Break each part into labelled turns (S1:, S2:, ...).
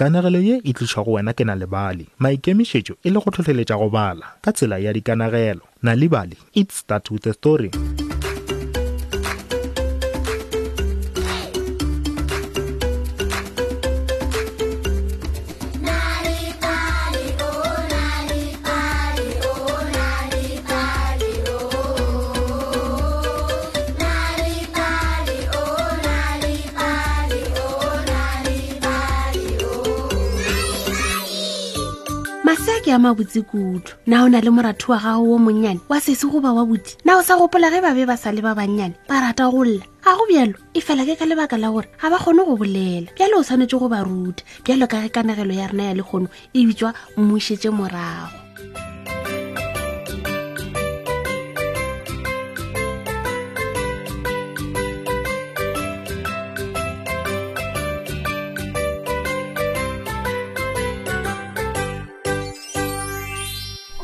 S1: kanegelo ye e tlišwa go wena ke nalebale maikemišetšo e le go tlhotlheletša go bala ka tsela ya dikanegelo nalebale it start with a story
S2: masa ke a mabotse kudu na o na le moratho wa gago wo monnyane wa sese goba wa boti na o sa gopola ge ba be ba sa le ba bannyane ba rata go lla ga go bjalo e fela ke ka lebaka la gore ga ba kgone go bolela bjalo o tshwanetse go ba ruta bjalo ka ge kanegelo ya rena ya lekgono e bitswa mmušetse morago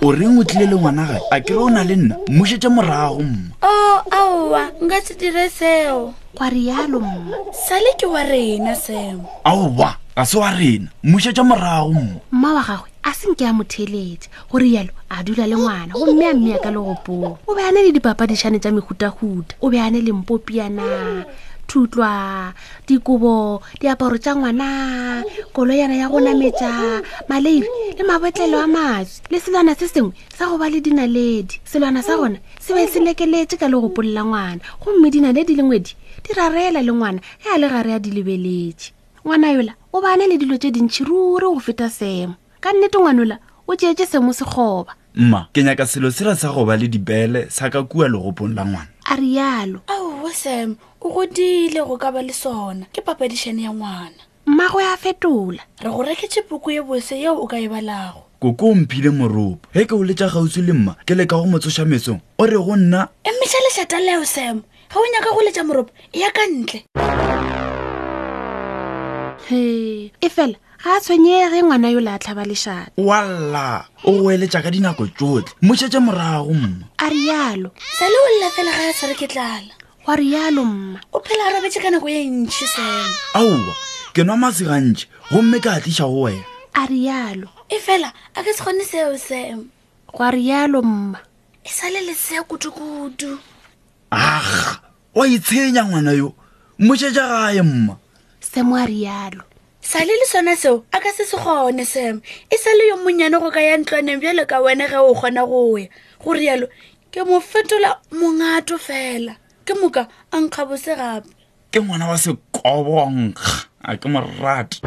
S3: o reng o tlile le ngwana gae a kere o na le nna mmošetse morago mma
S4: o Oh, aowa nka se dire seo
S2: gwa rialo mma
S4: sale ke wa rena semo
S3: aowa ga se wa rena mmošetse morago mma
S2: mma wa gagwe a senke a motheletse gore yalo a dula le ngwana gomme a mmea ka legopong o be a ne le dipapadišane tša mehutahuta o be a ne le mpopiana thutlwa dikobo diaparo tša ngwana koloyana ya go nametša maleiri le mabotlelo a matsi le selwana se sengwe sa go ba le dinaledi selwana sa gona se be se lekeletse ka legopolola ngwana gomme dinaledi lengwedi di rarela le ngwana ge a le gare a di lebeletše ngwana yola o bane le dilo tše dintšhi ruri go feta semo ka nnete ngwanola o tšeetse semo sekgoba
S3: mma ke nyaka selo sela sa go ba le dibele sa ka kua legopong la ngwana
S2: a rialo
S4: aowa sam o godile go ka ba le sona ke papadišane ya ngwana
S2: mmagwe a fetola
S4: re go reketse puku ye bose yeo o ka e balago
S3: koko o mphile moropo ge ke o letša kgauswi le mma ke leka go mo tsoša mesong o re go nna
S4: emmeša E lešata leo sam ga o nyaka go letša moropo e ya ka ntle
S2: he e fela ga a tshwenyege ngwana yola a tlhaba lešata
S3: walla o go eletša ka dinako tsotlhe mmošetse morago mma
S2: a rialo
S4: sale o lla fela ga ya tshwere ke tlala
S2: gwa rialo mma
S4: o phela a robetse ka nako ye ntšhi sam
S3: aowa ke nwa masegantšhe gomme ke a tliša go wena
S2: a rialo
S4: e fela a ke se kgone seo sam
S2: gwa rialo mma
S4: e sale lesea kudu-kudu
S3: aga wa itshenya ngwana yo mmošetša gae mma
S2: semo a rialo
S4: sale le sona seo a ka se se kgone sam e sale yo monyane go ka ya ntlwaneng bjalo ka wena ge o kgona go ya go rialo ke mo fetola mongato fela ke moka a nkga bose gape
S3: ke ngwana wa sekobonkga a ke morate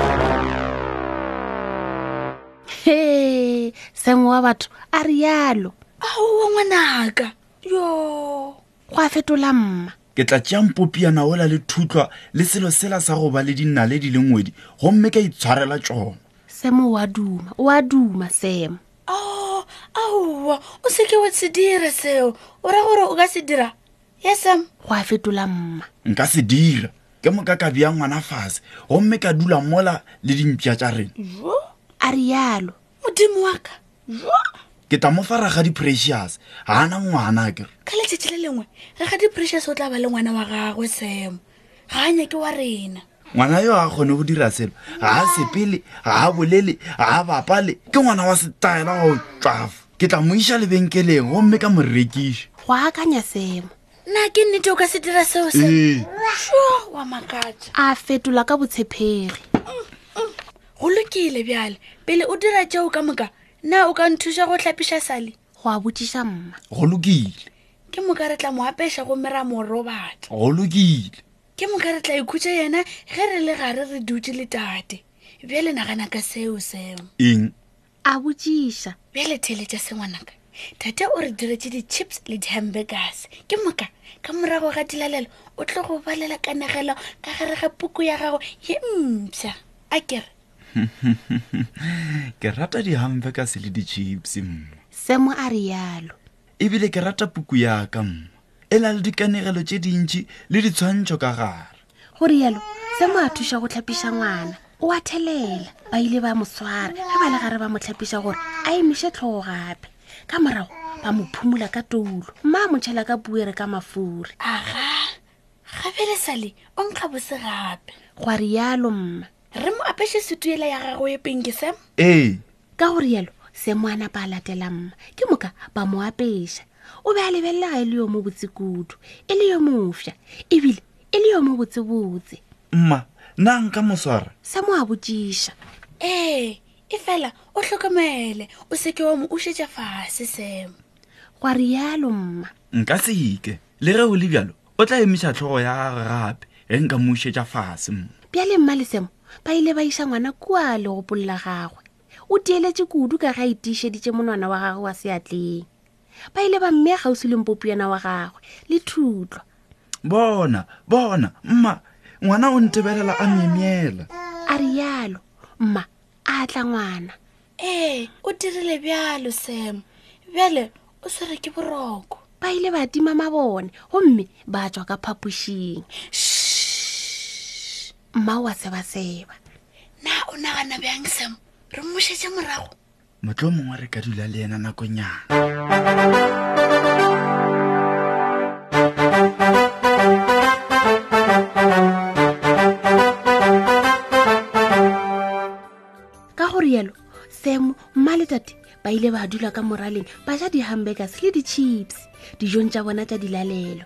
S2: he semo wa batho a rialo
S4: aowa ngwanaka yo
S2: go a fetola mma
S3: ke tla tšeang popiana ola le thutlwa le selo sela sa go ba le dinale di le ngwedi gomme ka itshwarela tsona
S2: semo o a duma o a duma semo
S4: ao aowa o seke wa se dira seo o ra gore o ka se dira ya sam
S2: go a fetola mma
S3: nka se dira ke moka ka bea ngwana fase gomme ka dula mola le dimpša tša rena
S2: a rialo
S4: modimo wa ka
S3: ke tla mo faraga di-precius ga ana ngwana kere
S4: ka letšatši le lengwe re ga di-precius o tla ba le ngwana wa gagwe semo ga a nyake wa rena
S3: ngwana yo a kgone go dira selo ga a sepele ga a bolele ga a bapale ke ngwana wa setaela go tswafa ke tla mo iša lebenkeleng gomme ka mo rekiša
S2: go akanya semo
S4: nna ke nnete o ka se dira seo se
S3: ee
S4: sho wa makatša
S2: a fetola ka botshepegi
S4: go lokile bjale pele o dira tšeo ka moka na o ka nthuša go tlhapiša sale
S2: go a botsiša mma
S3: go lokile
S4: ke moka re tla mo apeša gomme ra mo robatla
S3: go lokile
S4: ke moka re tla ikhutša yena ge re le gare re dutse le tate bjale nagana ka seo seo
S3: eng
S2: a botsiša
S4: bjale theletša sengwanaka tate o re diretse di-chips le di-hamburgers ke moka ka morago ga dilalelo o tlo go balela kanegelo ka gare ga puku ya gago ye mpša a kere
S3: ke rata di-humburgers le di-chips mma
S2: semo a rialo
S3: ebile ke rata puku yaka mma e na le dikanegelo tse dintšhi le ditshwantšho ka gare
S2: go rialo semo a thuša go tlhapiša ngwana o a thelela ba ile ba mo swara ge ba le gare ba mo tlhapiša gore a emiše tlhogo gape ka morago ba mo phumula ka toulo mma a mo tšhela ka puere ka mafuri
S4: aga gabele sale o nkga bose gape
S2: go a rialo mma
S4: re mo apeshe setuela ya gago e peng ke sam
S3: ee
S2: ka go rialo semo a napa a latela mma ke moka ba mo apeša o be a lebelela ga e le yo mo botse kudu e le yo mofsa ebile e le yo mo botsebotse
S3: mma nna nka moswara
S2: semo a botsiša
S4: ee e fela o tlhokomele o seke wa mo ušetša fase sam
S2: gwa rialo mma
S3: nka seke le ge o le bjalo o tla emiša tlhogo ya gage gape ge nka moišetša fase mma
S2: bjale mma le semo ba ile ba iša ngwana kua le gopolola gagwe o tieletše kudu ka ga a itišeditše monwana wa gagwe wa seatleng ba ile ba mmea kgauswi le mpopiana wa gagwe le thutlwa
S3: bona bona mma ngwana o ntebelela a myemyela
S2: a rialo mma a tla ngwana
S4: ee o dirile bjalo sam bjale o swere ke boroko
S2: ba ile ba tima mabone gomme ba tswa ka phapošing
S4: Shh.
S2: mma wa sebaseba
S4: na o nagana bjang sam re mmošetše morago
S3: motlo mongwe re ka dula le ena nakonyana
S2: ka go rialo semo mma le tate ba ile ba dula ka moraleng ba ja di-humburgers le di-chips dijong tša bona tša dilalelo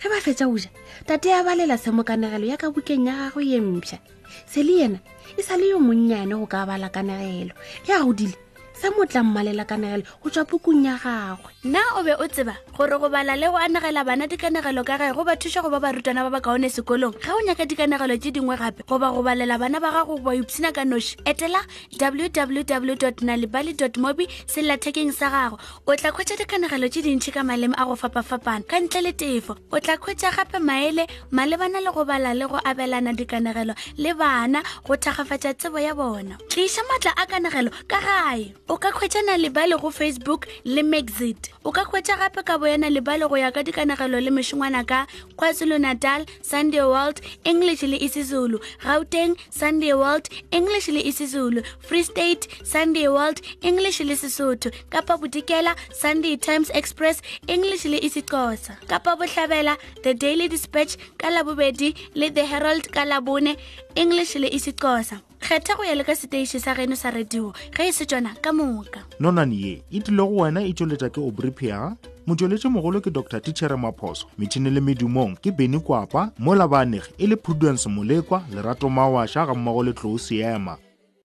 S2: ge ba fetsa go ja tate ya balela semo kanegelo ya ka bukeng ya gagwe ye mpšha se le yena e sa le yo monnyane go ka bala kanegelo ge a godile semo o tla mmalela kanegelo go tswa pukung ya gagwe
S4: na o be o tseba gore go bala le go anegela bana dikanegelo ka gae go ba thuša go ba barutwana ba ba kaone sekolong ge o nyaka dikanegelo tse dingwe gape goba go balela bana ba gago ba ipshina ka noši etela www nalibaly mobi sellathekeng sa gago o tla khwetša dikanegelo tse dintšhi ka maleme a go fapafapana ka ntle le tefo o tla khwetša gape maele malebana le go bala le go abelana dikanegelo le bana go thagafatša tsebo ya bona tliša maatla a kanegelo ka gae o ka khwetša na lebale go facebook le maxit o ka khwetša gape ka boyana lebale go ya ka dikanagelo le mešongwana ka kwazulu natal sunday world english le isizulu gauteng sunday world english le isizulu free state sunday world english le sesotho kapa bodikela sunday times express english le isixosa kapa bohlabela the daily dispatch ka labobedi le the herald ka labone english le isixosa kgetha go ya le ka seteiši sa geno sa radio ge e se tsona ka moka
S1: nonane ye e tlile go wena e tšweletša ke obripia motšweletši mogolo ke dr tichere maphoso metšhini le medumong ke beny kwapa mola baanegi e le prudence molekwa lerato mawašha ga mmogo le tlou seema